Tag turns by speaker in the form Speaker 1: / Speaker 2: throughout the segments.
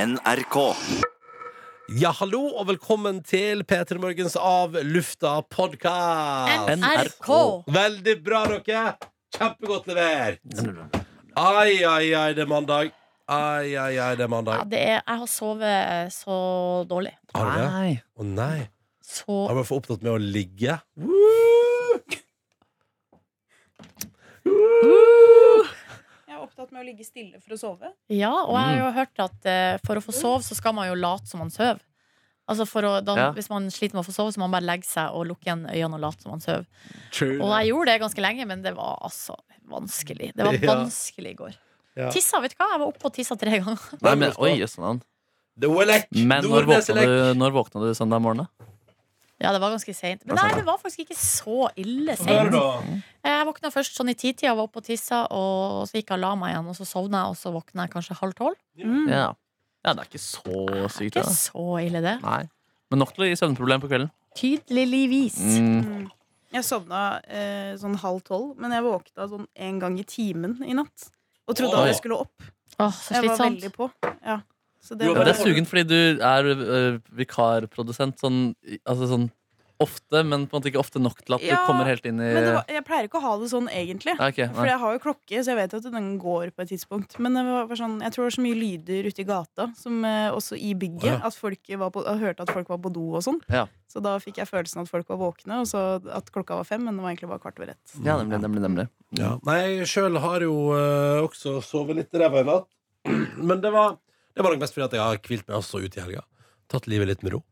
Speaker 1: NRK.
Speaker 2: Ja, hallo, og velkommen til P3 Morgens Av lufta podkast.
Speaker 3: NRK.
Speaker 2: Veldig bra, dere. Kjempegodt levert. Ai, ai, ai, det er mandag. Ai, ai, ai, det er
Speaker 3: Ja,
Speaker 2: mandag.
Speaker 3: det er, jeg har sovet så dårlig.
Speaker 2: Har du det?
Speaker 4: Nei.
Speaker 2: Å nei.
Speaker 3: Så
Speaker 2: Jeg var for opptatt med å ligge.
Speaker 5: Jeg er opptatt med å ligge stille for å sove.
Speaker 3: Ja, og
Speaker 2: Mm.
Speaker 3: jeg har jo hørt at eh, for å få sove, så skal man jo late som man sover. Altså for å, da,
Speaker 4: Ja.
Speaker 3: Hvis man sliter med å få sove, så må man bare legge seg og lukke igjen øynene og late som man sover.
Speaker 2: True.
Speaker 3: Og jeg gjorde det ganske lenge, men det var altså vanskelig. Det var
Speaker 2: Ja.
Speaker 3: vanskelig i går.
Speaker 2: Ja.
Speaker 3: Tissa, vet du hva? Jeg var oppe og tissa tre ganger.
Speaker 4: Nei, men, oi, jøsse navn.
Speaker 2: The Welleck.
Speaker 4: Men når våkna, du, når våkna du søndag morgen, da?
Speaker 3: Ja, det var ganske seint. Men
Speaker 4: Det er
Speaker 3: nei,
Speaker 4: sant.
Speaker 3: det var faktisk ikke så ille
Speaker 2: Hva er det
Speaker 3: seint.
Speaker 2: da?
Speaker 3: Jeg våkna først sånn i titida, var oppe og tissa, og så gikk jeg og la meg igjen. Og så sovna jeg, og så våkna jeg kanskje halv tolv.
Speaker 5: Mm.
Speaker 4: Ja. ja, det er ikke så
Speaker 3: Det er
Speaker 4: sykt, det.
Speaker 3: ikke
Speaker 4: da.
Speaker 3: så ille, det.
Speaker 4: Nei. Men nok til å gi søvnproblem på kvelden.
Speaker 3: Tydeligvis.
Speaker 4: Mm.
Speaker 5: Jeg sovna eh, sånn halv tolv, men jeg våkna sånn en gang i timen i natt. Og trodde
Speaker 2: Oi.
Speaker 5: at jeg skulle opp.
Speaker 3: Åh, så
Speaker 5: Jeg var
Speaker 3: slitsomt.
Speaker 5: veldig på. Ja. Så det
Speaker 2: Jo,
Speaker 4: Men
Speaker 5: var
Speaker 4: det er sugen fordi du er ø, vikarprodusent sånn, i- altså sånn ofte, men på en måte ikke ofte nok til at
Speaker 5: Ja,
Speaker 4: du kommer helt inn i
Speaker 5: Men det var, jeg pleier ikke å ha det sånn egentlig.
Speaker 4: Ja, ok,
Speaker 5: For
Speaker 4: nei.
Speaker 5: jeg har jo klokke, så jeg vet at den går på et tidspunkt. Men det var, var sånn, jeg tror det var så mye lyder ute i gata, som, eh, også i bygget,
Speaker 2: Å, ja.
Speaker 5: at folk var på, jeg hørte at folk var på do og sånn.
Speaker 4: Ja.
Speaker 5: Så da fikk jeg følelsen at folk var våkne, og så at klokka var fem, men det var egentlig bare kvart over ett.
Speaker 4: Ja, nemlig, nemlig, nemlig.
Speaker 2: Ja. Nei, jeg sjøl har jo eh, også sovet litt i ræva i natt. Men det var, det var nok mest fordi at jeg har hvilt meg også ut i helga. Tatt livet litt med ro.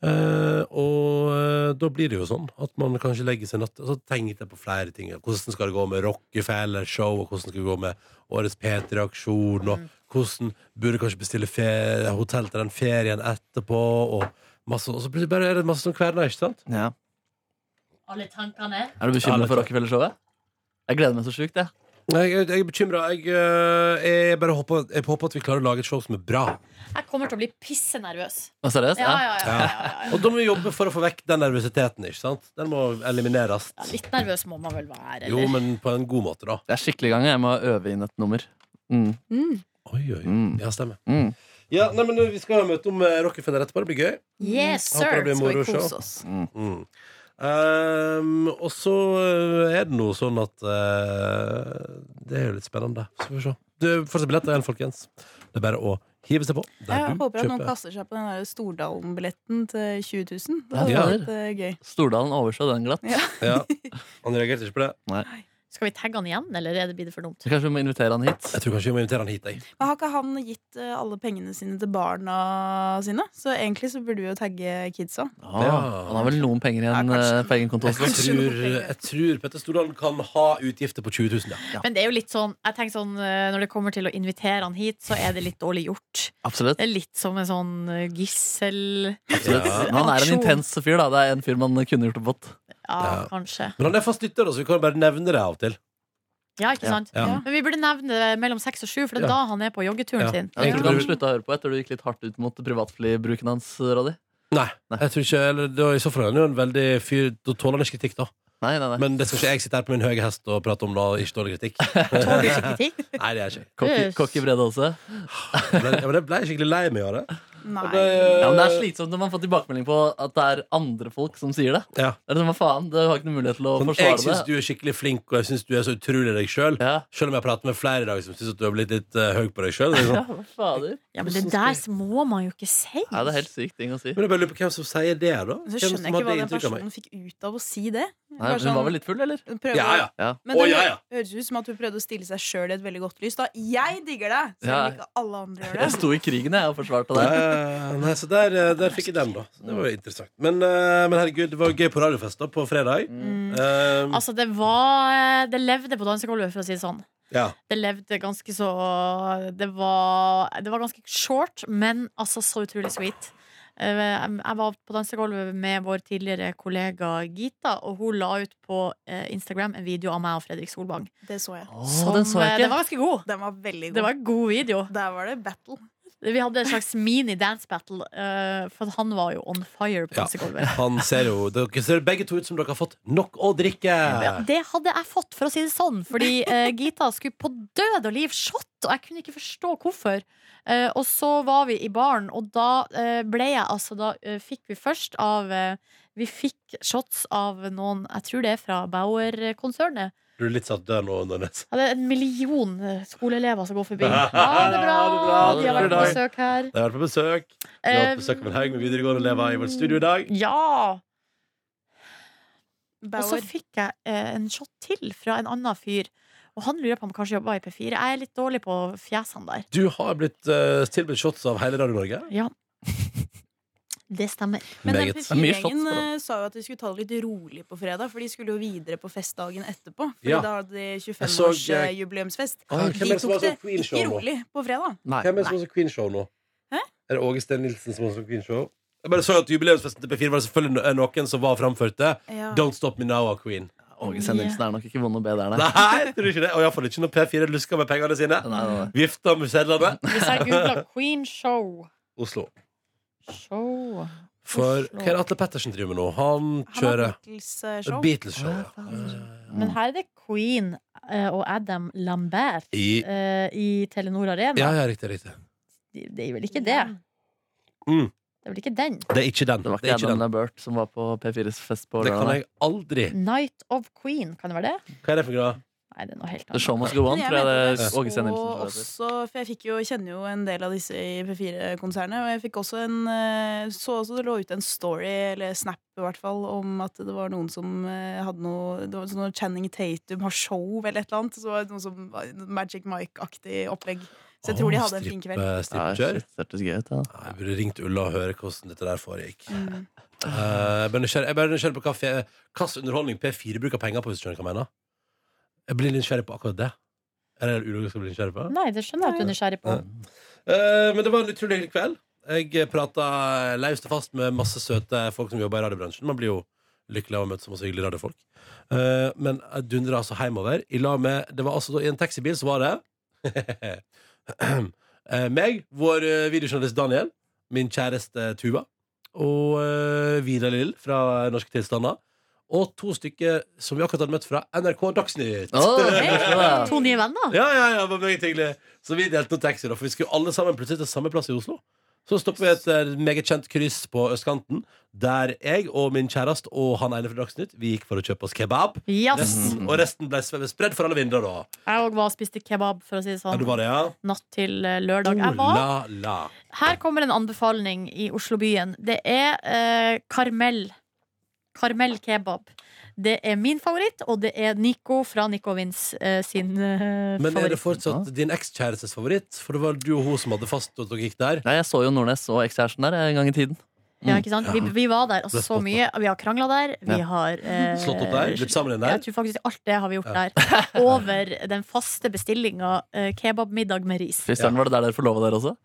Speaker 2: Eh, og eh, da blir det jo sånn at man kanskje legger seg natt Og så tenkte jeg på flere ting. Hvordan skal det gå med Rockefeller-show, og hvordan skal det gå med årets P3-aksjon, og hvordan burde jeg kanskje bestille ferie, hotell til den ferien etterpå, og masse Og så plutselig bare er det masse som kverner, ikke sant?
Speaker 4: Ja.
Speaker 3: Alle tankene.
Speaker 4: Er
Speaker 2: Ja,
Speaker 4: du bekymra for
Speaker 2: litt.
Speaker 4: Rockefeller-showet? Jeg gleder meg så sjukt, jeg.
Speaker 2: Jeg, jeg, jeg er bekymra. Jeg, øh, jeg bare håper, jeg håper at vi klarer å lage et show som er bra.
Speaker 3: Jeg kommer til å bli pissenervøs.
Speaker 4: Å, Seriøst?
Speaker 3: Ja, ja, ja, ja, ja, ja.
Speaker 2: Og da må vi jobbe for å få vekk den nervøsiteten. ikke sant? Den må elimineres.
Speaker 3: ja. Litt nervøs må man vel være.
Speaker 2: Jo,
Speaker 3: Eller?
Speaker 2: men på en god måte, da.
Speaker 4: Jeg er skikkelig i gang. Jeg må øve inn et nummer. Mm.
Speaker 3: Mm.
Speaker 2: Oi, oi, oi.
Speaker 4: Mm.
Speaker 2: Ja, stemmer.
Speaker 4: Mm.
Speaker 2: Ja, nei, men Vi skal ha møte om eh, Rockefeller etterpå. Det blir gøy.
Speaker 3: Yes,
Speaker 2: Håper det blir
Speaker 3: sir.
Speaker 5: Skal vi
Speaker 2: moro show.
Speaker 5: kose oss.
Speaker 2: Mm. Ehm, og så eh, er det noe sånn at eh, Det er jo litt spennende. Så får vi se. Det er fortsatt billetter igjen, folkens. Det er bare å hive seg på. Der
Speaker 5: Jeg
Speaker 2: du
Speaker 5: håper at noen
Speaker 2: kjøper.
Speaker 5: kaster seg på den der Stordalen-billetten til 20 000. Det
Speaker 4: Ja,
Speaker 5: hadde
Speaker 4: det
Speaker 5: vært eh, gøy.
Speaker 4: Stordalen overså den glatt.
Speaker 5: Ja.
Speaker 2: Ja. Han reagerte ikke på det.
Speaker 3: Skal vi tagge han igjen, eller er det blir det for dumt?
Speaker 4: Så kanskje vi må invitere han hit.
Speaker 2: Jeg tror kanskje vi må invitere han hit. Jeg.
Speaker 5: Men har ikke han gitt eh, alle pengene sine til barna sine? Så egentlig så burde vi jo tagge kidsa.
Speaker 4: Ah,
Speaker 2: Ja.
Speaker 4: Han har vel noen penger
Speaker 5: Ja,
Speaker 4: igjen
Speaker 5: kanskje.
Speaker 4: eh, på egen konto
Speaker 2: Jeg
Speaker 4: også.
Speaker 2: tror, jeg tror Petter Stordalen kan ha utgifter på 20 000, ja.
Speaker 3: Men det er jo litt sånn, jeg tenker sånn eh, når det kommer til å invitere han hit, så er det litt dårlig gjort.
Speaker 4: Absolutt.
Speaker 3: Det er litt som en sånn eh, gissel
Speaker 4: Absolutt.
Speaker 2: Ja.
Speaker 4: Men han er en
Speaker 3: Aksjon.
Speaker 4: intens fyr, da. Det er en fyr man kunne gjort det på.
Speaker 3: Ja,
Speaker 2: Ja.
Speaker 3: kanskje.
Speaker 2: Men han er fast lytter, da, så vi kan bare nevne det av og til.
Speaker 3: Ja, ikke
Speaker 4: Ja.
Speaker 3: sant?
Speaker 2: Ja.
Speaker 3: Men vi burde nevne det mellom seks og sju, for det er
Speaker 2: Ja.
Speaker 3: da han er på joggeturen
Speaker 2: Ja.
Speaker 3: sin.
Speaker 4: Jeg
Speaker 2: Ja.
Speaker 4: tror du slutta å høre på etter du gikk litt hardt ut mot privatflybruken hans, Roddy.
Speaker 2: Nei,
Speaker 4: Nei.
Speaker 2: jeg tror ikke eller, da, I så fall er han jo en veldig fyr Da tåler han ikke kritikk, da.
Speaker 4: Nei, nei, nei.
Speaker 2: Men det skal ikke jeg sitte her på min høye hest og prate om da ikke tåler kritikk.
Speaker 3: Tåler du ikke kritikk?
Speaker 2: Nei, det er jeg ikke.
Speaker 4: Cocky-
Speaker 3: Yes.
Speaker 4: Cocky Brede også.
Speaker 2: Jeg ble, jeg ble skikkelig lei meg av det. Jeg ble,
Speaker 5: Nei.
Speaker 4: Ja, men det er slitsomt når man får tilbakemelding på at det er andre folk som sier det.
Speaker 2: Ja.
Speaker 4: Det er sånn, hva faen, Du har ikke noen mulighet til å
Speaker 2: Sånn, jeg
Speaker 4: forsvare
Speaker 2: syns
Speaker 4: det.
Speaker 2: du er skikkelig flink, og jeg syns du er så utrolig deg sjøl.
Speaker 4: Ja.
Speaker 2: Selv om jeg har pratet med flere i dag som syns du har blitt litt eh, høy på deg sjøl.
Speaker 4: ja,
Speaker 2: Sånn.
Speaker 4: hva fader.
Speaker 3: Ja, men det der må man jo ikke si.
Speaker 4: Ja, det er helt sykt ting å si.
Speaker 2: Men jeg bare lurer på hvem som sier det, da.
Speaker 5: Så
Speaker 2: Hvem
Speaker 5: skjønner
Speaker 2: som
Speaker 5: jeg ikke
Speaker 2: hadde
Speaker 5: hva den
Speaker 2: inntrykk av meg.
Speaker 5: personen fikk ut av å si det.
Speaker 4: Nei, hun var vel litt full, eller?
Speaker 5: prøver,
Speaker 2: Ja, ja.
Speaker 4: Ja.
Speaker 5: Men
Speaker 2: Å,
Speaker 5: det
Speaker 2: ja, ja.
Speaker 5: høres ut som at hun prøvde å stille seg sjøl i et veldig godt lys. Da jeg digger deg! Selv
Speaker 4: Ja.
Speaker 5: om ikke alle andre gjør
Speaker 4: Jeg
Speaker 5: det.
Speaker 4: sto i krigen jeg og forsvarte
Speaker 2: Ja,
Speaker 4: det.
Speaker 2: ja, ja. Nei, så der, eh, der fikk jeg den, da. Så det var jo interessant. Men, eh, men herregud, det var jo gøy på radiofest da, på fredag.
Speaker 5: Mm.
Speaker 2: Eh,
Speaker 3: Altså, det var eh, Det levde på dansegulvet, for å si det sånn.
Speaker 2: ja.
Speaker 3: Det levde ganske så Det var, det var ganske short, men altså så utrolig sweet. Eh, Jeg var på dansegulvet med vår tidligere kollega Gita, og hun la ut på eh, Instagram en video av meg og Fredrik Solvang.
Speaker 5: Det så jeg.
Speaker 4: Å,
Speaker 3: Som,
Speaker 4: den så
Speaker 3: eh,
Speaker 4: jeg
Speaker 3: Den
Speaker 4: ikke.
Speaker 3: var ganske god.
Speaker 5: Den var veldig god.
Speaker 3: Det var en god video.
Speaker 5: Der var det battle.
Speaker 3: Vi hadde en slags mini-dance battle, eh, for han var jo on fire på
Speaker 2: Ja.
Speaker 3: dansegulvet.
Speaker 2: Han ser jo Dere ser begge to ut som dere har fått nok å drikke.
Speaker 3: Det hadde jeg fått, for å si det sånn, fordi eh, Gita skulle på død og liv shotte og jeg kunne ikke forstå hvorfor. Eh, og så var vi i baren, og da eh, ble jeg altså Da eh, fikk vi først av eh, Vi fikk shots av noen Jeg tror det er fra Bauer-konsernet.
Speaker 2: Du er litt satt død nå under nesa.
Speaker 3: Ja, det er en million eh, skoleelever som går forbi. Ja, det
Speaker 2: Ha
Speaker 3: er bra!
Speaker 4: det bra.
Speaker 3: De har vært på
Speaker 4: Takk.
Speaker 3: besøk her. Eh,
Speaker 2: Jeg har vært på besøk. Vi har hatt besøk av en haug med videregående elever i vårt studio i dag.
Speaker 3: Ja! Og så
Speaker 5: Bauer.
Speaker 3: fikk jeg eh, en shot til fra en annen fyr. Og han lurer på om han kanskje jobba i P4. Jeg er litt dårlig på fjesene der.
Speaker 2: Du har blitt eh, tilbudt shots av hele Radio Norge.
Speaker 3: Ja. Det stemmer.
Speaker 5: Men den
Speaker 2: Meget.
Speaker 4: Det er mye shots på
Speaker 5: P4-gjengen
Speaker 4: det.
Speaker 5: eh, sa jo at de skulle ta det litt rolig på fredag, for de skulle jo videre på festdagen etterpå. Fordi
Speaker 2: Ja.
Speaker 5: da hadde de
Speaker 2: så, eh,
Speaker 5: 25-årsjubileumsfest.
Speaker 2: Ah, hvem er
Speaker 5: De
Speaker 2: det som har
Speaker 5: tok det
Speaker 2: sånn
Speaker 5: ikke
Speaker 2: queen-show nå?
Speaker 5: rolig på fredag.
Speaker 4: Nei.
Speaker 2: Hvem er det som har sånn queen-show nå?
Speaker 5: Hæ?
Speaker 2: Er det Åge Steen Nilsen som har sånn queen-show? Jeg bare så at Jubileumsfesten til P4 var det selvfølgelig no- noen som var framførte.
Speaker 5: Ja.
Speaker 2: Don't Stop Me Now av Queen.
Speaker 4: Åge Sendingsen er nok ikke vond å be der, nei.
Speaker 2: Nei, tror du ikke det? Og iallfall ikke når P4 lusker med pengene sine.
Speaker 4: Nei, nei, nei.
Speaker 2: Vifta med sedlene.
Speaker 3: Hvis jeg googler Queen Show
Speaker 2: Oslo.
Speaker 3: Show
Speaker 2: For
Speaker 3: Oslo.
Speaker 2: hva er det Atle Pettersen driver med nå? Han kjører
Speaker 5: Beatles-show.
Speaker 2: Beatles-show. ja.
Speaker 3: Men her er det Queen eh, og Adam Lambert
Speaker 2: I
Speaker 3: eh, i Telenor Arena.
Speaker 2: Ja, ja, riktig. riktig
Speaker 3: De- Det er vel ikke det?
Speaker 2: Mm.
Speaker 3: Det er vel ikke den?
Speaker 2: Det er ikke den.
Speaker 4: Det var
Speaker 2: Det
Speaker 4: ikke
Speaker 2: er ikke
Speaker 4: Adam
Speaker 2: den.
Speaker 4: Labert som var på P4s fest på
Speaker 2: Det kan
Speaker 4: lørdag.
Speaker 2: jeg aldri
Speaker 3: Night of Queen, kan det være det?
Speaker 2: Hva er det for noe?
Speaker 3: Nei, det er noe helt
Speaker 4: The
Speaker 3: annet.
Speaker 4: show must go
Speaker 5: Men
Speaker 4: on,
Speaker 5: jeg
Speaker 4: tror jeg det
Speaker 5: mente
Speaker 4: er Åge
Speaker 5: så
Speaker 4: Sendingsen som
Speaker 5: også, for jeg fikk jo, kjenner jo en del av disse i P4-konsernet, og jeg fikk også en eh, så også det lå ute en story, eller snap i hvert fall, om at det var noen som eh, hadde noe det var sånn noe Channing Tatum har show eller et eller annet, så var det noe som var noe Magic Mike-aktig opplegg. Så jeg tror de
Speaker 2: Å,
Speaker 5: hadde en fin kveld.
Speaker 2: strippe-
Speaker 4: Ja,
Speaker 2: Strippekjør?
Speaker 4: shit, det hørtes gøy ut, ja.
Speaker 2: Nei, Jeg burde ringt Ulla og høre hvordan dette der foregikk.
Speaker 5: Mm.
Speaker 2: Eh, jeg bare nysgjerrig- jeg bare nysgjerrig på hva fe- hva slags underholdning P4 bruker penger på, hvis du skjønner hva jeg mener. Jeg blir litt nysgjerrig på akkurat det. Er det Ulla skal bli nysgjerrig på?
Speaker 3: Nei, det skjønner jeg at du er nysgjerrig på.
Speaker 2: Eh, men det var en utrolig hyggelig kveld. Jeg eh, prata løst og fast med masse søte folk som jobber i radiobransjen. Man blir jo lykkelig av å møte så masse hyggelige radiofolk. Eh, men jeg dundra altså hjemover. I lag med, det var altså, da- I en taxibil så var det eh, meg, vår eh, videojournalist Daniel, min kjæreste Tuva, og eh, Vidar Lill fra Norske Tilstander. Og to stykker som vi akkurat hadde møtt fra NRK Dagsnytt.
Speaker 4: Å,
Speaker 5: Hey!
Speaker 3: To nye venner?
Speaker 2: Ja, ja, ja, det var meget hyggelig Så vi delte noen taxi da, for vi skulle alle sammen plutselig til samme plass i Oslo Så stoppet vi et eh, meget kjent kryss på østkanten Der jeg og min kjærest og han ene fra Dagsnytt Vi gikk for å kjøpe oss kebab
Speaker 3: Yes.
Speaker 2: resten, Og resten ble sve- spredd for alle vinder da
Speaker 3: Jeg òg var og spiste kebab, for å si det
Speaker 2: Ja,
Speaker 3: sånn.
Speaker 2: det var det, ja
Speaker 3: Natt til eh, lørdag. Jeg
Speaker 2: Oh,
Speaker 3: var
Speaker 2: la, la.
Speaker 3: Her kommer en anbefaling i Oslobyen. Det er eh, Karmel. Karmel kebab. Det er min favoritt, og det er Nico fra Nico Vins eh, sin eh,
Speaker 2: Men er det
Speaker 3: favoritt.
Speaker 2: fortsatt din ekskjærestes favoritt? For det var du og hun som hadde fast og dere gikk der
Speaker 4: Nei, jeg så jo Nordnes og ekskjæresten der eh, en gang i tiden.
Speaker 3: Ja, ikke sant? Vi, vi var der og
Speaker 2: Det er
Speaker 3: så
Speaker 2: spot
Speaker 3: mye. Vi har krangla der. Vi
Speaker 4: Ja.
Speaker 3: har eh,
Speaker 2: Slått opp der, blitt sammen igjen der
Speaker 3: Jeg tror faktisk alt det har vi gjort der. Over den faste bestillinga eh, kebabmiddag med ris.
Speaker 4: Kristian, var det der dere forlova dere også?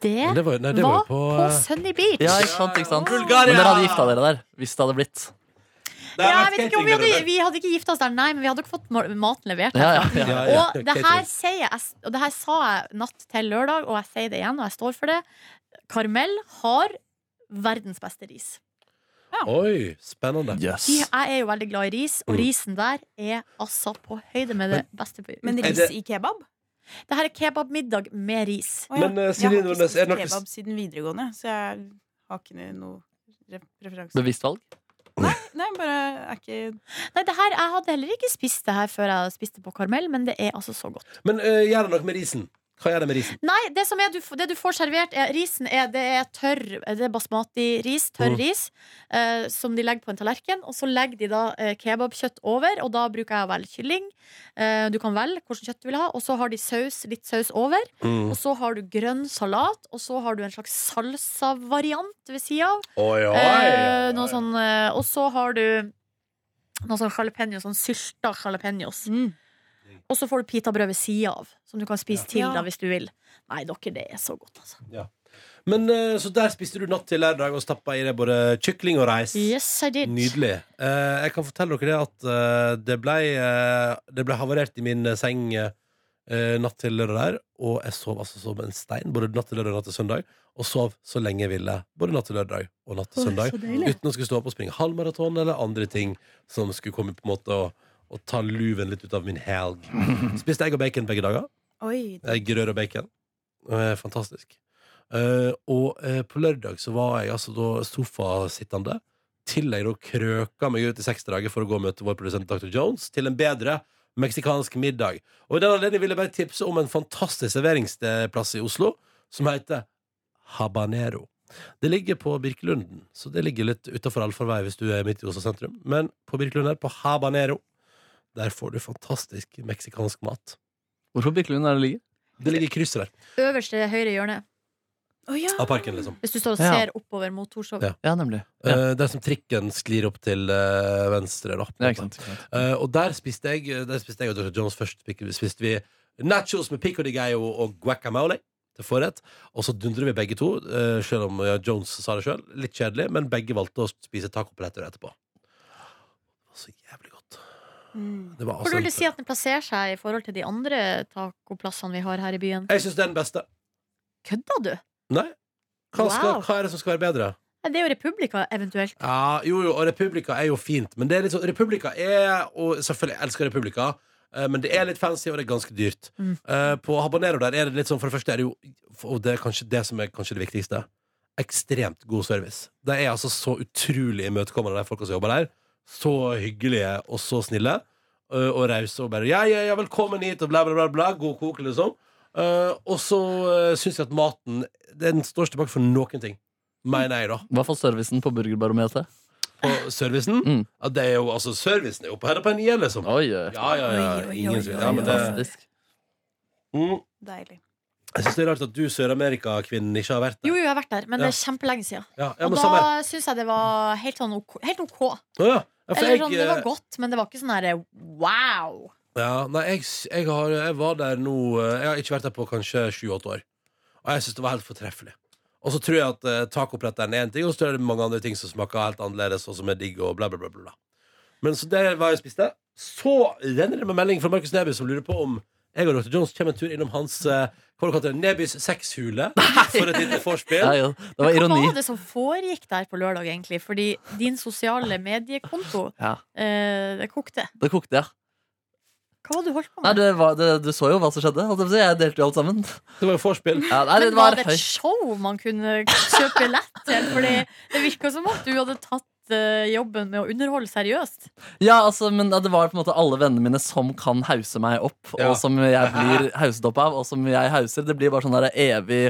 Speaker 3: Det
Speaker 2: Men det var, nei, det
Speaker 3: var
Speaker 2: var
Speaker 3: på,
Speaker 2: på, eh,
Speaker 3: Sunny Beach.
Speaker 4: Ja, ikke sant, ikke sant?
Speaker 2: Bulgaria!
Speaker 4: Men dere hadde gifta dere der, hvis det hadde blitt.
Speaker 2: Nei,
Speaker 3: Ja, jeg vet ikke om vi hadde,
Speaker 2: skating
Speaker 3: vi hadde ikke gifta oss der, nei, men vi hadde ikke fått ma- maten levert.
Speaker 4: Ja, ja,
Speaker 2: der,
Speaker 4: ja.
Speaker 2: ja, ja,
Speaker 3: Og det her, sier jeg, og det her sa jeg natt til lørdag, og jeg sier det igjen, og jeg står for det. Karmel har verdens beste ris.
Speaker 2: Oi, spennende
Speaker 4: Jøss.
Speaker 3: De, jeg er jo veldig glad i ris, og
Speaker 2: Mm.
Speaker 3: risen der er altså på høyde med det beste. på-
Speaker 5: Men
Speaker 2: Er
Speaker 5: ris
Speaker 2: det-
Speaker 5: i kebab?
Speaker 3: Det her er kebabmiddag med ris.
Speaker 5: Å ja.
Speaker 2: Men, eh, Silje
Speaker 5: jeg har ikke
Speaker 2: Nordnes, er det
Speaker 5: spist
Speaker 2: noe-
Speaker 5: kebab siden videregående, så jeg har ikke noe re- referanse.
Speaker 4: Bevisst valg?
Speaker 5: Nei, bare er ikke
Speaker 3: Nei, det her, Jeg hadde heller ikke spist det her før jeg spiste på Karmel, men det er altså så godt.
Speaker 2: Men eh, gjør det noe med risen Hva gjør det med risen?
Speaker 3: Nei, det, som er, du, f- det du får servert, er risen er, det er tørr Det er basmati-ris, tørr
Speaker 2: Mm.
Speaker 3: ris, eh, som de legger på en tallerken. Og så legger de da eh, kebabkjøtt over, og da bruker jeg å velge kylling. Eh, du kan velge hvilket kjøtt du vil ha, og så har de saus, litt saus over.
Speaker 2: Mm.
Speaker 3: Og så har du grønn salat, og så har du en slags salsa-variant ved sida av.
Speaker 2: Oi, oi,
Speaker 3: Eh,
Speaker 2: oi.
Speaker 3: noe sånn, eh, og så har du noe sånn jalapeños, sånn sylta jalapeños.
Speaker 2: Mm.
Speaker 5: Mm.
Speaker 3: Og så får du pitabrød ved sida av, som du kan spise til
Speaker 5: Ja.
Speaker 3: da hvis du vil. Nei, dere, det er så godt, altså.
Speaker 2: Men eh, så der spiste du natt til lørdag og stappa i deg både kykling og reis.
Speaker 3: Yes, I did.
Speaker 2: Nydelig. Eh, jeg kan fortelle dere det at eh, det ble, eh, det ble havarert i min eh, seng eh, natt til lørdag der, og jeg sov altså som en stein både natt til lørdag og natt til søndag, og sov så lenge jeg ville både natt til lørdag og natt til søndag, uten å skulle stå opp og springe halvmaraton eller andre ting som skulle komme på en måte og, og ta luven litt ut av min helg. Spiste egg og bacon begge dager.
Speaker 5: Oi.
Speaker 2: Det er grør og bacon. Eh, Fantastisk. Eh, og eh, på lørdag så var jeg altså da sofasittende til jeg da krøka meg ut i seks dager for å gå og møte vår produsent Dr. Jones til en bedre meksikansk middag. Og i den anledning vil jeg bare tipse om en fantastisk serveringsplass i Oslo som heter Habanero. Det ligger på Birkelunden, så det ligger litt utafor allfarvei hvis du er midt i Oslo sentrum. Men på Birkelunden, her, på Habanero, der får du fantastisk meksikansk mat.
Speaker 4: Hvorfor Birkelund er det ligger?
Speaker 2: Det ligger i krysset der,
Speaker 3: Øverste høyre hjørne.
Speaker 5: Å ja.
Speaker 2: av parken, liksom.
Speaker 3: Hvis du står og
Speaker 4: Ja.
Speaker 3: ser oppover mot Torshov.
Speaker 2: Ja.
Speaker 4: Ja, nemlig.
Speaker 2: Eh,
Speaker 4: Ja,
Speaker 2: Det er som trikken sklir opp til eh, venstre. Da,
Speaker 4: ja ikke sant. Ikke sant.
Speaker 2: Eh, og der spiste jeg eh, Der spiste jeg og Dr. Jones først. pik- Spiste vi nachos med pico de gallo og guacamole til forrett. Og så dundrer vi begge to, eh, selv om ja, Jones sa det sjøl. Litt kjedelig, men begge valgte å spise tacopletter etterpå. Det var så jævlig godt.
Speaker 5: Mm.
Speaker 2: Det var
Speaker 3: Hvor
Speaker 2: altså
Speaker 3: vil du si at den plasserer seg i forhold til de andre tacoplassene vi har her i byen?
Speaker 2: Jeg syns det er den beste.
Speaker 3: Kødda du?
Speaker 2: Nei? Hva, skal,
Speaker 3: Wow.
Speaker 2: hva er det som skal være bedre?
Speaker 3: Nei, Det er jo Republika, eventuelt.
Speaker 2: Ja, jo, jo, og Republika er jo fint. Men det er litt sånn, Republika er Og selvfølgelig jeg elsker Republika, eh, men det er litt fancy, og det er ganske dyrt.
Speaker 3: Mm.
Speaker 2: Eh, På Habanero der er det litt sånn For det første er det jo Og det er kanskje det som er kanskje det viktigste. Ekstremt god service. De er altså så utrolig imøtekommende, de folka som jobber der. Så hyggelige og så snille. eh, Og rause og bare Ja, ja, ja, velkommen hit, og bla, bla, bla. bla God kok, liksom. Eh, og så uh, syns jeg at maten Den står ikke tilbake for noen ting. Mener jeg, da
Speaker 4: I hvert fall servicen på Burgerbarometeret.
Speaker 2: på servicen.
Speaker 4: Mm.
Speaker 2: Ja, det er jo, altså, servicen er jo på her på en igjen, liksom.
Speaker 4: Oi, oi.
Speaker 2: Ja, ja, ja.
Speaker 5: Oi, oi,
Speaker 2: Ingen
Speaker 5: oi,
Speaker 2: tvil.
Speaker 5: oi,
Speaker 2: Ja, men det,
Speaker 4: Fantastisk.
Speaker 2: mm.
Speaker 5: Deilig.
Speaker 2: Jeg syns det er rart at du, Sør-Amerika-kvinnen, ikke har vært
Speaker 3: Jo,
Speaker 2: der.
Speaker 3: jo, jeg har vært der, men det er kjempelenge siden.
Speaker 2: Ja, ja,
Speaker 3: Og
Speaker 2: men
Speaker 3: da
Speaker 2: samme her.
Speaker 3: syns jeg det var helt, sånn ok, helt ok.
Speaker 2: Å, ja. Ja, for
Speaker 3: Eller sånn,
Speaker 2: jeg,
Speaker 3: det var
Speaker 2: eh,
Speaker 3: godt, men det var ikke sånn herre wow.
Speaker 2: ja, nei, jeg, s- jeg, har, jeg var der nå eh, Jeg har ikke vært der på kanskje sju-åtte år. Og jeg syns det var helt fortreffelig. Og så tror jeg at eh, tacopletteren er én ting, og så er det mange andre ting som smaker helt annerledes, og som er digg, og bla, bla, bla. bla. Men så det var jeg spiste. Så renner det med melding fra Markus Neby, som lurer på om jeg og Dr. Jones kommer en tur innom hans eh, hva var det du kalte det, Nebys sexhule for et lite
Speaker 4: Ja,
Speaker 2: vorspiel.
Speaker 4: ja. Det var
Speaker 3: Hva
Speaker 4: ironi.
Speaker 3: var det som foregikk der på lørdag, egentlig? Fordi din sosiale mediekonto
Speaker 4: Ja,
Speaker 3: eh, det kokte.
Speaker 4: det kokte, ja.
Speaker 3: Hva var det du holdt på
Speaker 4: Nei,
Speaker 3: med?
Speaker 4: det var, det, du så jo hva som skjedde. holdt jeg på å si. Jeg delte jo alt sammen.
Speaker 2: Det var jo vorspiel.
Speaker 4: Ja, nei, det
Speaker 3: Men
Speaker 4: var
Speaker 3: var det
Speaker 4: høy.
Speaker 3: et show man kunne kjøpe billett til? Fordi det virka som at du hadde tatt eh, jobben med å underholde seriøst.
Speaker 4: Ja, altså, men det var på en måte alle vennene mine som kan hause meg opp,
Speaker 2: Ja.
Speaker 4: og som jeg blir hauset opp av, og som jeg hauser. Det blir bare sånn der evig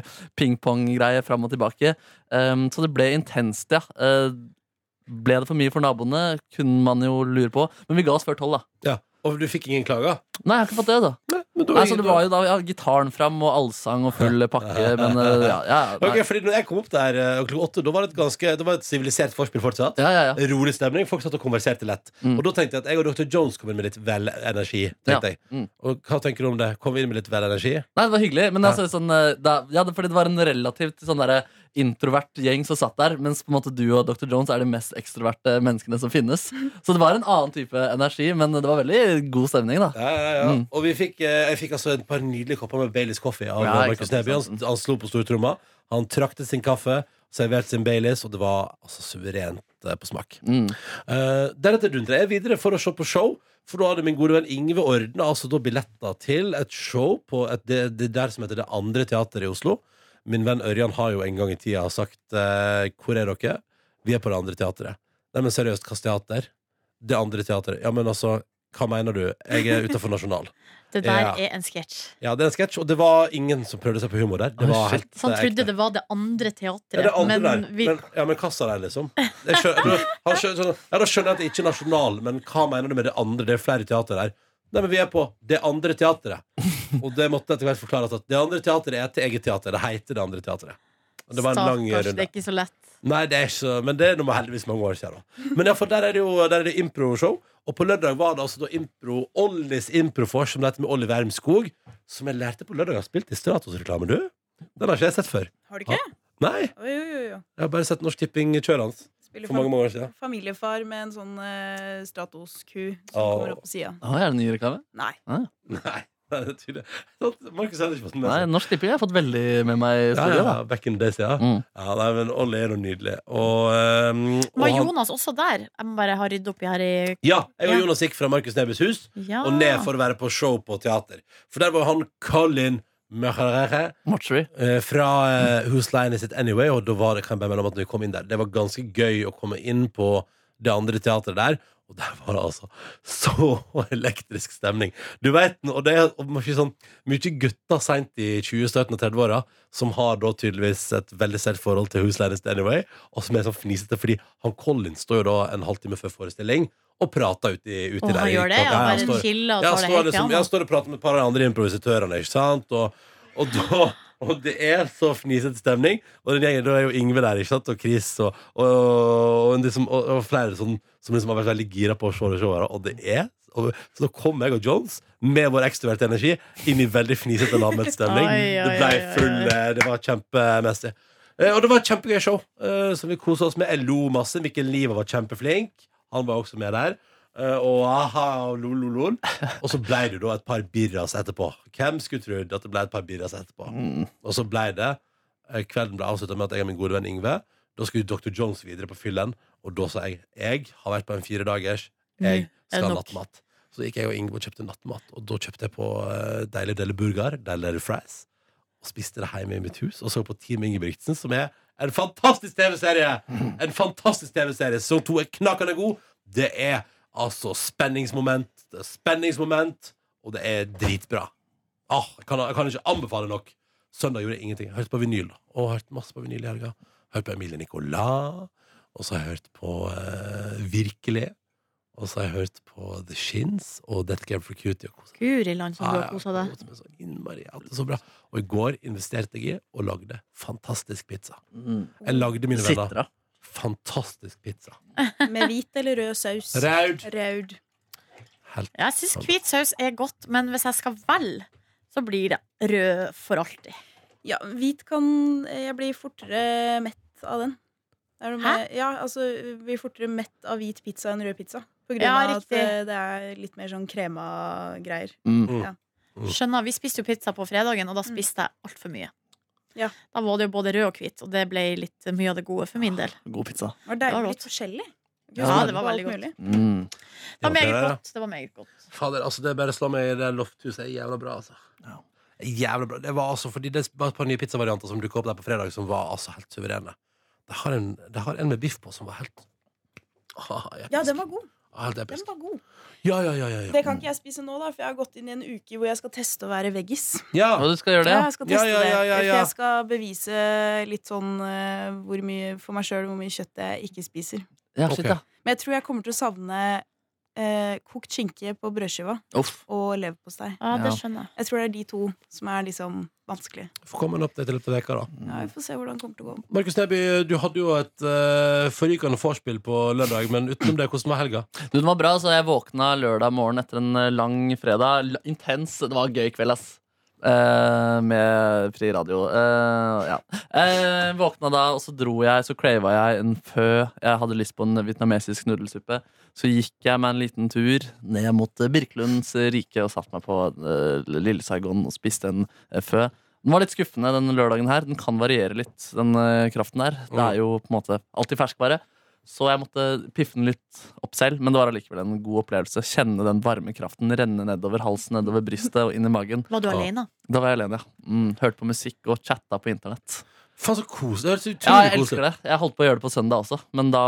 Speaker 4: ping-pong-greie fram og tilbake. Ehm, så det ble intenst, ja. Eh, ble det for mye for naboene, kunne man jo lure på. Men vi ga oss før tolv, da.
Speaker 2: Ja. Og du fikk ingen klager?
Speaker 4: Nei, jeg har ikke fått det, da.
Speaker 2: Nei, men da-
Speaker 4: Nei, så Altså, det var jo da ja, gitaren fram og allsang og full pakke, men eh, ja, ja,
Speaker 2: Ok,
Speaker 4: nei.
Speaker 2: fordi når jeg kom opp der eh, klokka åtte, da var det et ganske Det var et sivilisert vorspiel fortsatt.
Speaker 4: ja, ja, ja.
Speaker 2: Rolig stemning. Folk satt og konverserte lett.
Speaker 4: Mm.
Speaker 2: Og da tenkte jeg at jeg og dr. Jones kom inn med litt vel energi.
Speaker 4: Ja.
Speaker 2: Tenkte jeg
Speaker 4: Mm.
Speaker 2: Og hva tenker du om det? Kom vi inn med litt vel energi?
Speaker 4: Nei, det var hyggelig, men
Speaker 2: Ja.
Speaker 4: altså, sånn, eh, da, ja, det- fordi det var en relativt sånn derre introvert gjeng som satt der, mens på en måte du og Dr. Jones er de mest ekstroverte menneskene som finnes. Så det var en annen type energi, men det var veldig god stemning, da.
Speaker 2: Ja, ja, ja.
Speaker 4: Mm.
Speaker 2: Og vi fikk, eh, jeg fikk altså et par nydelige kopper med Baileys kaffe av
Speaker 4: Ja, ikke
Speaker 2: Markus
Speaker 4: sant,
Speaker 2: Neby.
Speaker 4: ikke
Speaker 2: Han,
Speaker 4: sant.
Speaker 2: han slo på stortromma. Han trakte sin kaffe, serverte sin Baileys, og det var altså suverent eh, på smak.
Speaker 4: Mm.
Speaker 2: Eh, deretter dundrer jeg videre for å se på show. For da hadde min gode venn Ingve ordna altså da billetter til et show på et, det, det der som heter Det Andre Teatret i Oslo. Min venn Ørjan har jo en gang i tida sagt eh, Hvor er dere? Vi er på Det Andre Teatret. Nei, men seriøst, hvilket teater? Det Andre Teatret. Ja, men altså, hva mener du? Jeg er utafor Nasjonal.
Speaker 3: Det der
Speaker 2: Ja.
Speaker 3: er en sketsj.
Speaker 2: Ja, det er en sketsj, og det var ingen som prøvde seg på humor der. Det
Speaker 4: Oi,
Speaker 2: var
Speaker 4: shit.
Speaker 2: helt
Speaker 3: Så han
Speaker 2: eh, ekte.
Speaker 3: Sånn trodde det var det andre teatret.
Speaker 2: Ja, det er andre
Speaker 3: men
Speaker 2: der.
Speaker 3: vi,
Speaker 2: Men, ja, men hva sa de, liksom? Jeg skjønner, han skjønner, sånn, ja, da skjønner jeg at det ikke er nasjonal, men hva mener du med det andre? Det er flere teater der. Nei, men vi er på Det andre teatret. Og det måtte etter hvert forklares at Det andre teatret er et eget teater. Det heter Det andre teatret. Og Det var en lang
Speaker 3: Stakkars, det
Speaker 2: runde.
Speaker 3: er ikke så lett.
Speaker 2: Nei, det er ikke så Men det er nå heldigvis mange år siden. Da. Men ja, for der er det jo Der er det impro-show. Og på lørdag var det altså da impro Ollis improfors, som det heter med Olli Wermskog, som jeg lærte på lørdag har spilt i Stratos-reklame, du. Den har ikke jeg sett før.
Speaker 5: Har du ikke?
Speaker 2: Nei.
Speaker 5: Oi, oi, oi, oi.
Speaker 2: Jeg har bare sett Norsk Tipping kjøre hans.
Speaker 5: Spiller
Speaker 2: For mange
Speaker 5: fam
Speaker 2: mange år siden.
Speaker 5: familiefar med en sånn eh, Stratos-ku som
Speaker 2: Åh.
Speaker 5: kommer opp på sida.
Speaker 4: Å, er det ny reklame?
Speaker 5: Nei.
Speaker 2: Nei. Nei, det er tydelig. Sant? Markus har heller ikke fått den med
Speaker 4: Nei,
Speaker 2: seg.
Speaker 4: Norsk Tipping har jeg fått veldig med meg i
Speaker 2: Ja,
Speaker 4: studio.
Speaker 2: ja, ja, back in the days, ja.
Speaker 4: da. Mm.
Speaker 2: ja nei, men Olli er jo nydelig. Og, um, og
Speaker 3: Var
Speaker 2: han-
Speaker 3: Jonas også der? Jeg må bare ha ryddet opp i her i
Speaker 2: Ja, jeg og
Speaker 3: Ja.
Speaker 2: Jonas gikk fra Markus Nebys hus
Speaker 3: ja.
Speaker 2: og ned for å være på show på teater. For der var han Colin Mørere
Speaker 4: Morchery.
Speaker 2: Eh, fra eh, Whose Line Is It Anyway, og da var det kan jeg bare melde om at når vi kom inn der Det var ganske gøy å komme inn på det andre teateret der. Og der var det altså så elektrisk stemning. Du vet, og det er og man sier sånn, mye gutter seint i 20-, og 30-åra som har da tydeligvis et veldig sterkt forhold til Whose Line Is It Anyway, og som er sånn fnisete, fordi han Colin står jo da en halvtime før forestilling og prater uti, uti
Speaker 3: Å,
Speaker 2: der.
Speaker 3: han
Speaker 2: i
Speaker 3: gjør det,
Speaker 2: klokka.
Speaker 3: ja.
Speaker 2: Ja, han
Speaker 3: Bare
Speaker 2: står-
Speaker 3: chiller og
Speaker 2: ja,
Speaker 3: tar det
Speaker 2: står
Speaker 3: helt
Speaker 2: liksom,
Speaker 3: piano.
Speaker 2: jeg står og prater med et par av de andre improvisatørene, ikke sant? Og, og, da, og det er så fnisete stemning. Og den gjengen, da er jo Ingve der, ikke sant? Og Chris og, og, og, en liksom, og, og flere som, som liksom har vært veldig gira på å se det showet. Og det er og, Så da kom jeg og Jones med vår ekstroverte energi inn i veldig fnisete lavmælt stemning.
Speaker 3: Oi, oi,
Speaker 2: det ble
Speaker 3: oi, oi,
Speaker 2: full
Speaker 3: oi.
Speaker 2: eh, Det var kjempemessig. Eh, Og det var et kjempegøy show eh, som vi kosa oss med. Jeg lo masse. Mikkel Liva var kjempeflink. Han var også med der. Eh, Og aha, og lol, lol, lol. Og så ble det da et par birras etterpå. Hvem skulle trodd at det ble et par birras etterpå?
Speaker 4: Mm.
Speaker 2: Og så ble det eh, Kvelden ble avslutta med at jeg og min gode venn Ingve Da skulle Dr. Jones videre på fyllen, og da sa jeg jeg har vært på en fire dagers. Jeg
Speaker 3: er det
Speaker 2: skal ha
Speaker 3: nok.
Speaker 2: nattmat. Så gikk jeg og Ingve og kjøpte nattmat, og da kjøpte jeg på eh, deilig deilig burger, deilig deilig fries, og spiste det hjemme i mitt hus, og så på Team Ingebrigtsen, som er en fantastisk TV-serie! En fantastisk TV-serie. Sesong to er knakende god. Det er altså spenningsmoment, det er spenningsmoment, og det er dritbra. Ah, jeg, kan, jeg kan ikke anbefale nok. Søndag gjorde jeg ingenting. Hørte på vinyl. da. Og hørte masse på vinyl i helga. Hørte på Emilie Nicolas. Og så har jeg hørt på eh, Virkelig. Og så har jeg hørt på The Shins og Death Game for Cutie. Og koset.
Speaker 3: Guri land som du har
Speaker 2: Ah,
Speaker 3: kosa deg.
Speaker 2: koset meg så innmari. Jeg hadde det så bra. Og i går investerte jeg i og lagde fantastisk pizza.
Speaker 4: Mm.
Speaker 2: Jeg lagde mine venner
Speaker 4: Sitra.
Speaker 2: fantastisk pizza.
Speaker 5: Med hvit eller rød saus?
Speaker 2: Raud!
Speaker 5: Raud.
Speaker 2: Helt
Speaker 3: Jeg syns hvit saus er godt, men hvis jeg skal velge, så blir det rød for alltid.
Speaker 5: Ja, hvit kan Jeg blir fortere mett av den. Er du med? Ja, altså jeg blir fortere mett av hvit pizza enn rød pizza. På grunn
Speaker 3: Ja,
Speaker 5: av at
Speaker 3: riktig.
Speaker 5: eh, det er litt mer sånn krema-greier.
Speaker 4: Mm.
Speaker 2: Mm.
Speaker 3: Skjønner, Vi spiste jo pizza på fredagen, og da spiste jeg altfor mye.
Speaker 5: Ja.
Speaker 3: Da var det jo både rød og hvit, og det ble litt mye av det gode for min del.
Speaker 4: God pizza.
Speaker 5: Det var
Speaker 3: Det var
Speaker 5: deilig.
Speaker 3: godt.
Speaker 5: Litt forskjellig.
Speaker 3: Ja,
Speaker 5: Smake
Speaker 3: det var
Speaker 5: på alt
Speaker 3: veldig godt.
Speaker 5: mulig.
Speaker 4: Mm.
Speaker 3: Det var
Speaker 2: Ja,
Speaker 3: meget
Speaker 2: det er det.
Speaker 3: godt. Det var meget godt.
Speaker 2: Fader, altså det bare slår meg i det lofthuset er jævla bra, altså.
Speaker 4: Ja.
Speaker 2: Det er Jævla bra. Det var altså fordi det var et par nye pizzavarianter som dukket opp der på fredag, som var altså helt suverene. Det har en, det har en med biff på som var helt ah, episk.
Speaker 5: Ja, den var god.
Speaker 2: Ah, helt
Speaker 5: Den
Speaker 2: episk.
Speaker 5: var god.
Speaker 2: Ja, ja, ja, ja, ja.
Speaker 5: Det kan ikke jeg spise nå, da, for jeg har gått inn i en uke hvor jeg skal teste å være veggis.
Speaker 2: ja.
Speaker 4: Og du skal gjøre det,
Speaker 5: Ja,
Speaker 4: ja?
Speaker 5: jeg skal
Speaker 2: Ja,
Speaker 5: teste
Speaker 2: ja, ja, ja,
Speaker 5: det. For
Speaker 2: ja.
Speaker 5: jeg skal bevise litt sånn eh, hvor mye for meg sjøl hvor mye kjøtt jeg ikke spiser.
Speaker 4: Ja, shit,
Speaker 2: Ok.
Speaker 4: ja.
Speaker 5: Men jeg tror jeg kommer til å savne eh, kokt skinke på brødskiva
Speaker 4: Uff.
Speaker 5: og leverpostei.
Speaker 3: Ja, det
Speaker 4: Ja.
Speaker 3: skjønner jeg.
Speaker 5: Jeg tror det er de to som er liksom vanskelige.
Speaker 2: Får komme en update i løpet av veka, da.
Speaker 5: Ja, vi får se hvordan det kommer til å gå.
Speaker 2: Markus Neby, du hadde jo et eh, forrykende vorspiel på lørdag, men utenom det, hvordan var helga?
Speaker 4: Du, den var bra, så jeg våkna lørdag morgen etter en eh, lang fredag. L- Intens. Det var en gøy kveld, ass. Eh, med fri radio. Eh, ja. Eh, våkna da, og så dro jeg, så crava jeg en fø. Jeg hadde lyst på en vietnamesisk nudelsuppe. Så gikk jeg med en liten tur ned mot eh, Birkelunds rike og satte meg på eh, Lille Saigon og spiste en eh, fø. Den var litt skuffende, den lørdagen her. Den kan variere litt, den eh, kraften her. Det er jo på en måte alltid ferskvare. Så jeg måtte piffe den litt opp selv, men det var allikevel en god opplevelse. Kjenne den varme kraften renne nedover halsen, nedover brystet og inn i magen.
Speaker 3: Var du
Speaker 2: Ja.
Speaker 3: alene?
Speaker 4: Da var jeg alene, ja. Mm, hørte på musikk og chatta på internett.
Speaker 2: Faen, så koselig. Det hørtes
Speaker 4: Ja,
Speaker 2: utrolig
Speaker 4: jeg elsker
Speaker 2: koselig ut.
Speaker 4: det. Jeg holdt på å gjøre det på søndag også, men da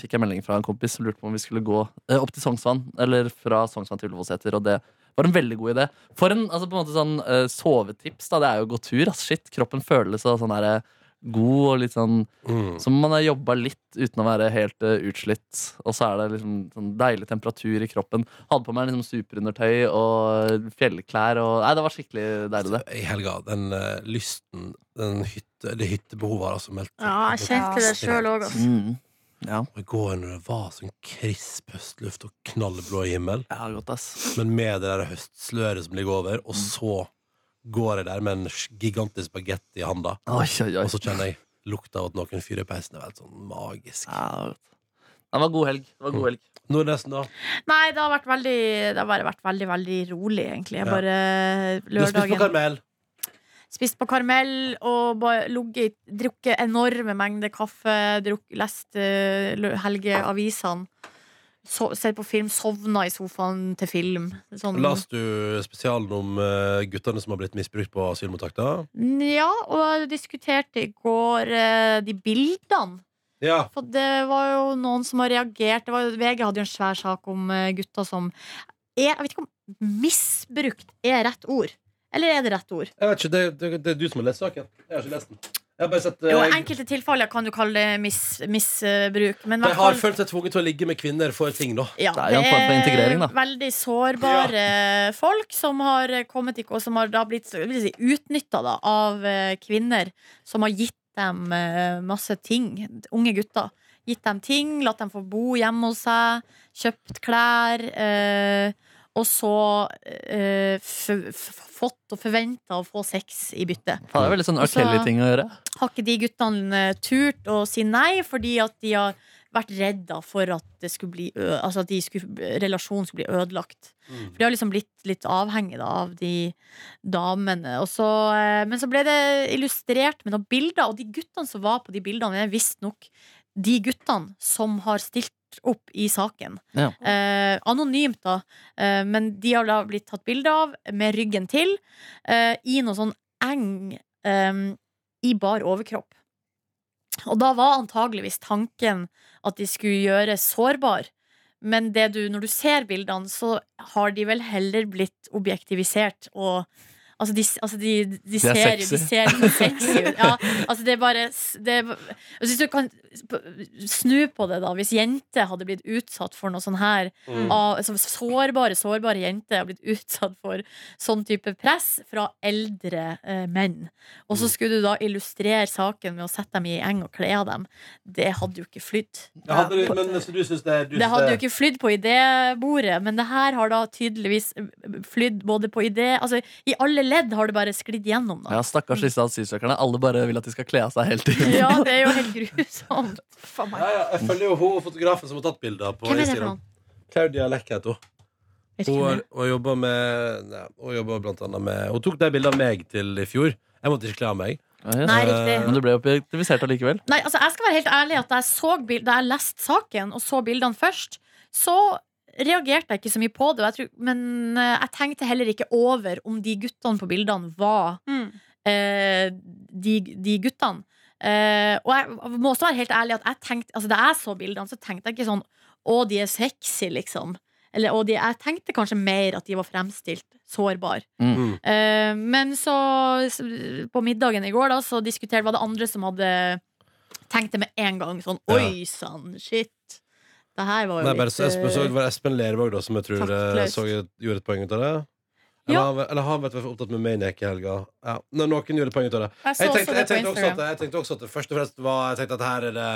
Speaker 4: fikk jeg melding fra en kompis som lurte på om vi skulle gå eh, opp til Sognsvann, eller fra Sognsvann til Ullevålseter, og det var en veldig god idé. For en altså på en måte sånn eh, sovetips, da. Det er jo å gå tur, ass. Shit. Kroppen føles så sånn her eh, god og litt sånn
Speaker 2: Mm.
Speaker 4: som man har jobba litt uten å være helt eh, utslitt. Og så er det liksom sånn deilig temperatur i kroppen. Hadde på meg liksom superundertøy og fjellklær og Nei, det var skikkelig deilig, det.
Speaker 2: I helga, den eh, lysten, den hytte, det hyttebehovet har altså meldt seg.
Speaker 3: Ja, jeg kjente det sjøl òg, altså.
Speaker 4: Mm. Ja.
Speaker 2: Og i går når det var sånn krisp høstluft og knallblå himmel,
Speaker 4: ja, godt, ass.
Speaker 2: men med det der høstsløret som ligger over, og så går jeg der med en sj- gigantisk bagett i handa,
Speaker 4: Oi, oi, oi.
Speaker 2: og så kjenner jeg lukta av at noen fyrer i peisen. Det er helt sånn magisk.
Speaker 4: Ja, det var godt. Det var god helg. Det var god helg.
Speaker 2: Nordnesen, da?
Speaker 3: Nei, det har vært veldig Det har bare vært veldig, veldig rolig, egentlig.
Speaker 2: Ja.
Speaker 3: Jeg bare
Speaker 2: Du har spist på
Speaker 3: lørdagen
Speaker 2: karamell?
Speaker 3: Spist på karamell og bare ligget i- drukket enorme mengder kaffe, drukk, lest eh, lø- helgeavisene. So, sett på film, sovna i sofaen til film. Sånn.
Speaker 2: Las du spesialen om eh, guttene som har blitt misbrukt på asylmottak? da?
Speaker 3: Ja, og jeg diskuterte i går eh, de bildene.
Speaker 2: Ja.
Speaker 3: For det var jo noen som har reagert. Det var jo, VG hadde jo en svær sak om eh, gutter som er, Jeg vet ikke om misbrukt er rett ord. Eller er det rett ord?
Speaker 2: Jeg vet ikke, det, det, det er du som har lest saken. Jeg har ikke lest den. Jeg har bare sett eh,
Speaker 3: Jo, enkelte tilfeller kan du kalle det mis, misbruk. Men i
Speaker 2: De
Speaker 3: hvert
Speaker 2: har
Speaker 3: fall-
Speaker 2: følt seg tvunget til å ligge med kvinner for ting, da.
Speaker 3: Ja,
Speaker 4: Det er jo en form for integrering, da.
Speaker 3: Veldig sårbare folk som har kommet ikke, og som har da blitt utnytta av eh, kvinner som har gitt dem eh, masse ting. Unge gutter. Gitt dem ting, latt dem få bo hjemme hos seg, kjøpt klær. eh, og så eh, f f fått og forventa å få sex i bytte.
Speaker 4: Faen, Det er veldig sånn R.
Speaker 3: Altså-
Speaker 4: Kelly-ting å gjøre.
Speaker 3: Har ikke de guttene eh, turt å si nei fordi at de har vært redda for at, det skulle bli, ø- altså at de skulle, relasjonen skulle bli ødelagt. For det har liksom blitt litt avhengig da, av de damene. Og så, eh, men så ble det illustrert med noen bilder, og de guttene som var på de bildene, er visstnok de guttene som har stilt opp i saken.
Speaker 4: Ja.
Speaker 3: Eh, anonymt, da. Eh, men de har da blitt tatt bilde av med ryggen til eh, i noe sånn eng eh, i bar overkropp. Og da var antageligvis tanken at de skulle gjøre sårbar. Men det du, når du ser bildene, så har de vel heller blitt objektivisert og Altså, de, altså de, de, ser,
Speaker 4: sexy.
Speaker 3: de ser litt sexy ut. Ja, altså, det er bare det, er- altså Hvis du kan snu på det, da. Hvis jenter hadde blitt utsatt for noe sånn her av, altså, Sårbare, sårbare jenter har blitt utsatt for sånn type press fra eldre eh, menn. Og så skulle du da illustrere saken med å sette dem i eng og kle av dem. Det hadde jo ikke flydd.
Speaker 2: Jeg hadde, men så du syns det du
Speaker 3: Det
Speaker 2: syns
Speaker 3: hadde jo ikke flydd på idébordet, men det her har da tydeligvis eh, flydd både på idé Altså, i alle ledd har det bare sklidd gjennom, da.
Speaker 4: Ja, Stakkars disse asylsøkerne. Alle bare vil at de skal kle av seg hele tiden.
Speaker 3: Ja, det er jo helt grusomt.
Speaker 5: Faen meg.
Speaker 2: ja, ja, Jeg følger jo hun fotografen som har tatt bilder på
Speaker 3: Hvem er det for
Speaker 2: Instagram.
Speaker 3: noen?
Speaker 2: Claudia Leck heter hun.
Speaker 3: Vet ikke
Speaker 2: Hun,
Speaker 3: hvem
Speaker 2: har-
Speaker 3: det er.
Speaker 2: hun jobber med ja, Hun jobber blant annet med Hun tok de bildene av meg til i fjor. Jeg måtte ikke kle av meg.
Speaker 4: Ja,
Speaker 3: Nei,
Speaker 4: ja.
Speaker 3: riktig.
Speaker 4: Men du ble objektivisert allikevel.
Speaker 3: Nei, altså jeg skal være helt ærlig at da jeg, så bild, da jeg leste saken og så bildene først, så reagerte jeg ikke så mye på det. Og jeg tror, men eh, jeg tenkte heller ikke over om de guttene på bildene var
Speaker 5: Mm.
Speaker 3: eh, de, de guttene. Eh, og jeg må også være helt ærlig at jeg tenkte, altså da jeg så bildene, så tenkte jeg ikke sånn Å, de er sexy, liksom. Eller, og de, jeg tenkte kanskje mer at de var fremstilt sårbar.
Speaker 2: Mm.
Speaker 3: Eh, men så s- på middagen i går da, så diskuterte var det andre som hadde tenkt det med en gang. Sånn
Speaker 2: Ja.
Speaker 3: oi sann, shit. Det her var jo
Speaker 2: Nei, bare,
Speaker 3: litt
Speaker 2: så Espen, så
Speaker 3: eh,
Speaker 2: det var Espen Lervåg da, som jeg tror eh,
Speaker 3: Taktløst.
Speaker 2: så, gjorde et poeng ut av det. Eller,
Speaker 3: Ja.
Speaker 2: han, eller han vet, var opptatt med Maniac i helga. Ja. Nei, noen gjorde et poeng ut av det.
Speaker 3: Jeg så
Speaker 2: Jeg
Speaker 3: også
Speaker 2: tenkte,
Speaker 3: det
Speaker 2: jeg,
Speaker 3: på
Speaker 2: tenkte også at,
Speaker 3: Instagram.
Speaker 2: det- jeg tenkte også at det først og fremst var Jeg tenkte at her er det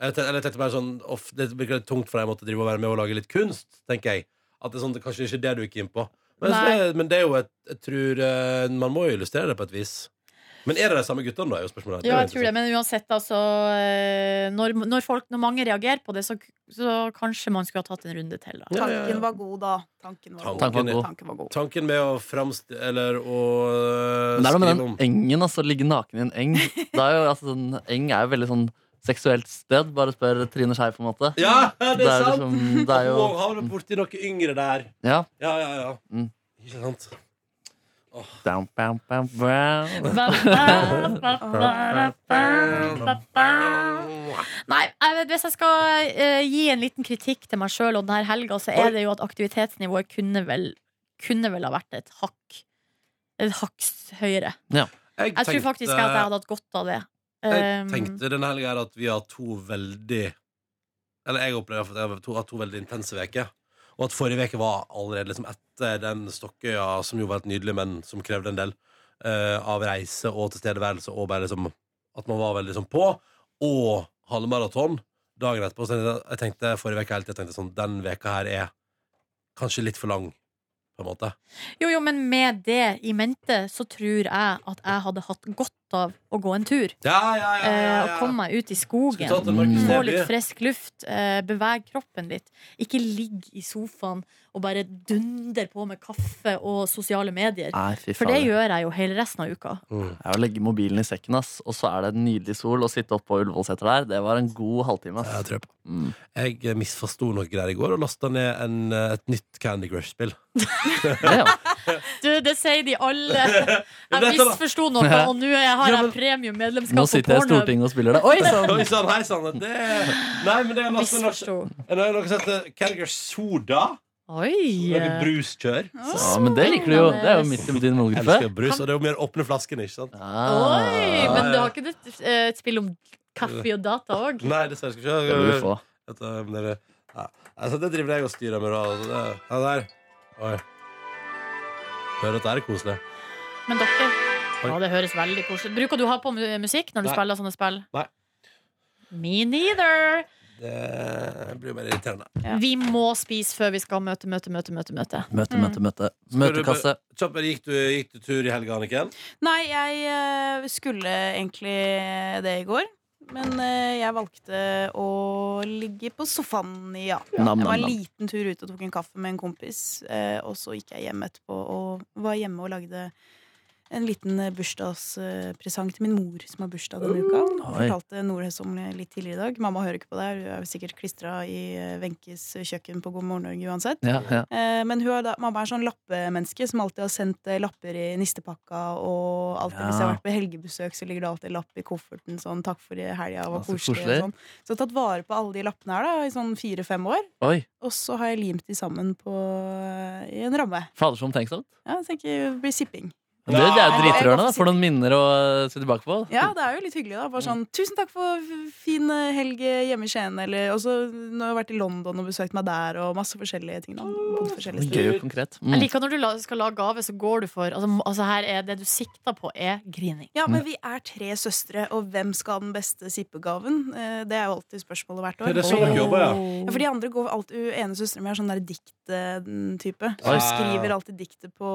Speaker 2: jeg tenkte, Eller jeg tenkte bare sånn off, Det virker litt tungt for deg å måtte drive og være med og lage litt kunst, tenker jeg. At det er sånn, det er kanskje ikke det du gikk inn på. Men, så
Speaker 3: Nei.
Speaker 2: er- men det er jo et Jeg tror eh, Man må jo illustrere det på et vis. Men er det de samme guttene, da? er jo spørsmålet. er
Speaker 3: Ja,
Speaker 2: jo
Speaker 3: jeg tror det,
Speaker 2: interessant.
Speaker 3: men uansett, altså eh, Når, når, folk, når mange reagerer på det, så, så kanskje man skulle ha tatt en runde til, da.
Speaker 2: Ja, ja, ja.
Speaker 5: Tanken var god, da. Tanken var god.
Speaker 4: Tanken var god.
Speaker 5: Tanken var god.
Speaker 2: Tanken med å framstille Eller å eh,
Speaker 4: Men det er noe med
Speaker 2: skrive
Speaker 4: den
Speaker 2: om
Speaker 4: engen, altså. Ligge naken i en eng. Det er jo, altså, sånn, eng er jo veldig sånn seksuelt sted. Bare spør Trine Skei, på en måte.
Speaker 2: Ja, det er sant!
Speaker 4: liksom- det er jo
Speaker 2: Hun havner borti noe yngre der.
Speaker 4: Ja.
Speaker 2: Ja, ja, ja.
Speaker 4: Mm.
Speaker 2: Ikke sant?
Speaker 4: Down, bam, bam, bam.
Speaker 3: Nei, jeg vet, hvis jeg skal eh, gi en liten kritikk til meg sjøl og denne helga, så
Speaker 2: Oi.
Speaker 3: er det jo at aktivitetsnivået kunne vel, kunne vel ha vært et hakk Et hakk s- høyere. Jeg tror faktisk at jeg hadde hatt godt av det.
Speaker 2: eh, Jeg
Speaker 3: Um,
Speaker 2: tenkte denne helga her at vi har to veldig Eller jeg opplever at jeg har to, hatt to veldig intense veker Og at forrige veke var allerede liksom etter den Stokkøya, som jo var helt nydelig, men som krevde en del eh, av reise og tilstedeværelse, og bare liksom at man var veldig sånn på. Og halvmaraton dagen etterpå. Så jeg jeg tenkte forrige veke hele tiden, jeg tenkte sånn Den veka her er kanskje litt for lang, på en måte.
Speaker 3: Jo, jo, men med det i mente så tror jeg at jeg hadde hatt godt opptatt av å gå en tur.
Speaker 2: Ja, ja, ja, ja,
Speaker 3: eh, og
Speaker 2: ja.
Speaker 3: komme meg ut i
Speaker 2: Skulle
Speaker 3: skogen.
Speaker 2: tatt en Markus
Speaker 4: Mm.
Speaker 3: Få
Speaker 2: Neby.
Speaker 3: litt frisk luft. Eh, beveg kroppen litt. Ikke ligg i sofaen og bare dunder på med kaffe og sosiale medier.
Speaker 4: Nei, fy
Speaker 3: For det
Speaker 4: faen.
Speaker 3: gjør jeg jo hele resten av uka.
Speaker 2: Mm.
Speaker 4: Jeg legger mobilen i sekken, ass. Og så er det en nydelig sol å sitte oppe på Ullevålseter der. Det var en god halvtime,
Speaker 2: Ja,
Speaker 4: ass.
Speaker 2: Jeg tror på
Speaker 4: Mm.
Speaker 2: Jeg eh, misforsto noe greier i går og lasta ned en, eh, et nytt Candy Crush-spill.
Speaker 4: Ja, ja.
Speaker 3: Du, det sier de alle. Jeg misforsto noe,
Speaker 4: Ja.
Speaker 3: og nå er jeg- har
Speaker 2: Ja,
Speaker 3: jeg
Speaker 2: men-
Speaker 3: premium
Speaker 4: Nå
Speaker 3: medlemskap på
Speaker 4: sitter jeg i
Speaker 3: Pornhub.
Speaker 4: Stortinget og spiller det. Oi sånn. sann!
Speaker 2: Oi sann, hei sann! Det Nei, men det er lasta ned
Speaker 3: Misforsto.
Speaker 2: en- en- noe som heter eh, Candy Crush Soda.
Speaker 3: Oi!
Speaker 2: Noe bruskjør.
Speaker 4: Ja, men det liker du jo. Det er jo midt i din
Speaker 2: Jeg
Speaker 4: målgruppe.
Speaker 2: elsker brus, og det er jo mer åpne flaskene, ikke sant?
Speaker 3: Oi,
Speaker 4: Ah,
Speaker 3: men du har ikke det, eh, et spill om kaffe og data òg?
Speaker 2: Nei, dessverre. Skal
Speaker 4: det vil
Speaker 2: vi
Speaker 4: du
Speaker 2: ikke
Speaker 4: få.
Speaker 2: Dette, men dere- ja. altså, det driver jeg og styrer med. da, altså, det- Ja, der. Oi. Hører at det er koselig.
Speaker 3: Men dere
Speaker 2: Oi.
Speaker 3: Ja, det høres veldig koselig ut. Bruker du å ha på mu- musikk når du
Speaker 2: Nei.
Speaker 3: spiller sånne spill?
Speaker 2: Nei.
Speaker 3: Me neither.
Speaker 2: Det blir jo bare irriterende.
Speaker 5: Ja.
Speaker 3: Vi må spise før vi skal møte, møte, møte, møte. møte.
Speaker 4: Møte, møte, møte.
Speaker 2: du-
Speaker 4: Møtekasse.
Speaker 2: Kjapt, gikk, du- gikk du tur i helga, Anniken?
Speaker 5: Nei, jeg eh, skulle egentlig det i går. Men eh, jeg valgte å ligge på sofaen, ja.
Speaker 4: Nam,
Speaker 5: Jeg var en
Speaker 4: nam, nam.
Speaker 5: liten tur ut og tok en kaffe med en kompis. eh, Og så gikk jeg hjem etterpå og var hjemme og lagde en liten eh, bursdagspresang til min mor, som har bursdag denne uka. Jeg
Speaker 4: Oi.
Speaker 5: fortalte Nordnes om det litt tidligere i dag. Mamma hører ikke på det. her. Hun er sikkert klistra i eh, Wenches kjøkken på God morgen Norge uansett.
Speaker 4: Ja, ja.
Speaker 5: Eh, Men hun er da, mamma er sånn lappemenneske som alltid har sendt eh, lapper i nistepakka. Og alltid hvis jeg har
Speaker 4: Ja.
Speaker 5: vært på helgebesøk, så ligger det alltid en lapp i kofferten. Sånn 'takk for i helga, var
Speaker 4: Ja, så
Speaker 5: koselig'. og
Speaker 4: koselig.
Speaker 5: Sånn. Så jeg har tatt vare på alle de lappene her da, i sånn fire-fem år.
Speaker 4: Oi.
Speaker 5: Og så har jeg limt de sammen på, i en ramme.
Speaker 4: Fader, så omtenksomt.
Speaker 5: Ja, jeg tenker det blir sipping.
Speaker 4: Men Det, det er jo
Speaker 5: Nei.
Speaker 4: dritrørende. da. Får noen minner å eh, se tilbake på.
Speaker 5: Ja, det er jo litt hyggelig, da.
Speaker 2: Mm.
Speaker 5: Bare sånn 'tusen takk for f- fin eh, helg hjemme i Skien', eller Og så nå har jeg vært i London og besøkt meg der, og masse forskjellige ting. Da. Bodd forskjellige steder.
Speaker 4: Gøy og konkret. Mm.
Speaker 3: Jeg liker når du la, skal lage gave, så går du for altså, m- altså her er Det du sikter på, er grining.
Speaker 5: Ja,
Speaker 2: Mm.
Speaker 5: men vi er tre søstre, og hvem skal ha den beste sippegaven? Eh, Det er jo alltid spørsmålet hvert år.
Speaker 2: Ja, det er sånn dere jobber, ja.
Speaker 5: Ja, for de andre går alltid, hun ene søstera mi er sånn der dikt-type.
Speaker 2: Oi.
Speaker 5: Hun skriver alltid diktet på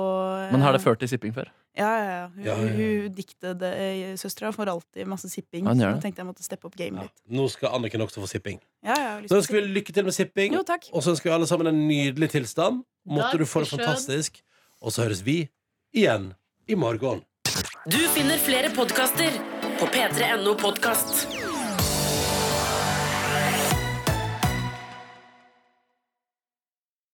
Speaker 5: eh,
Speaker 4: Men har det ført til sipping før?
Speaker 5: Ja, ja, ja. Hun,
Speaker 2: Ja, ja, ja.
Speaker 5: hun diktede eh, søstera får alltid masse sipping.
Speaker 4: Ja, hun
Speaker 5: Så
Speaker 4: gjør
Speaker 5: jeg
Speaker 4: det.
Speaker 5: tenkte jeg måtte steppe opp gamet
Speaker 2: Ja.
Speaker 5: litt.
Speaker 2: Nå skal Anniken også få sipping.
Speaker 5: Ja, ja, jeg har
Speaker 2: Nå
Speaker 5: lyst til å
Speaker 2: ønsker vi lykke til med sipping,
Speaker 5: sippe. Jo, takk.
Speaker 2: og så ønsker vi alle sammen en nydelig tilstand. Måtte
Speaker 3: Takk
Speaker 2: du få det
Speaker 3: for
Speaker 2: fantastisk. Og så høres vi igjen i morgen.
Speaker 1: Du finner flere podkaster på p3.no podkast.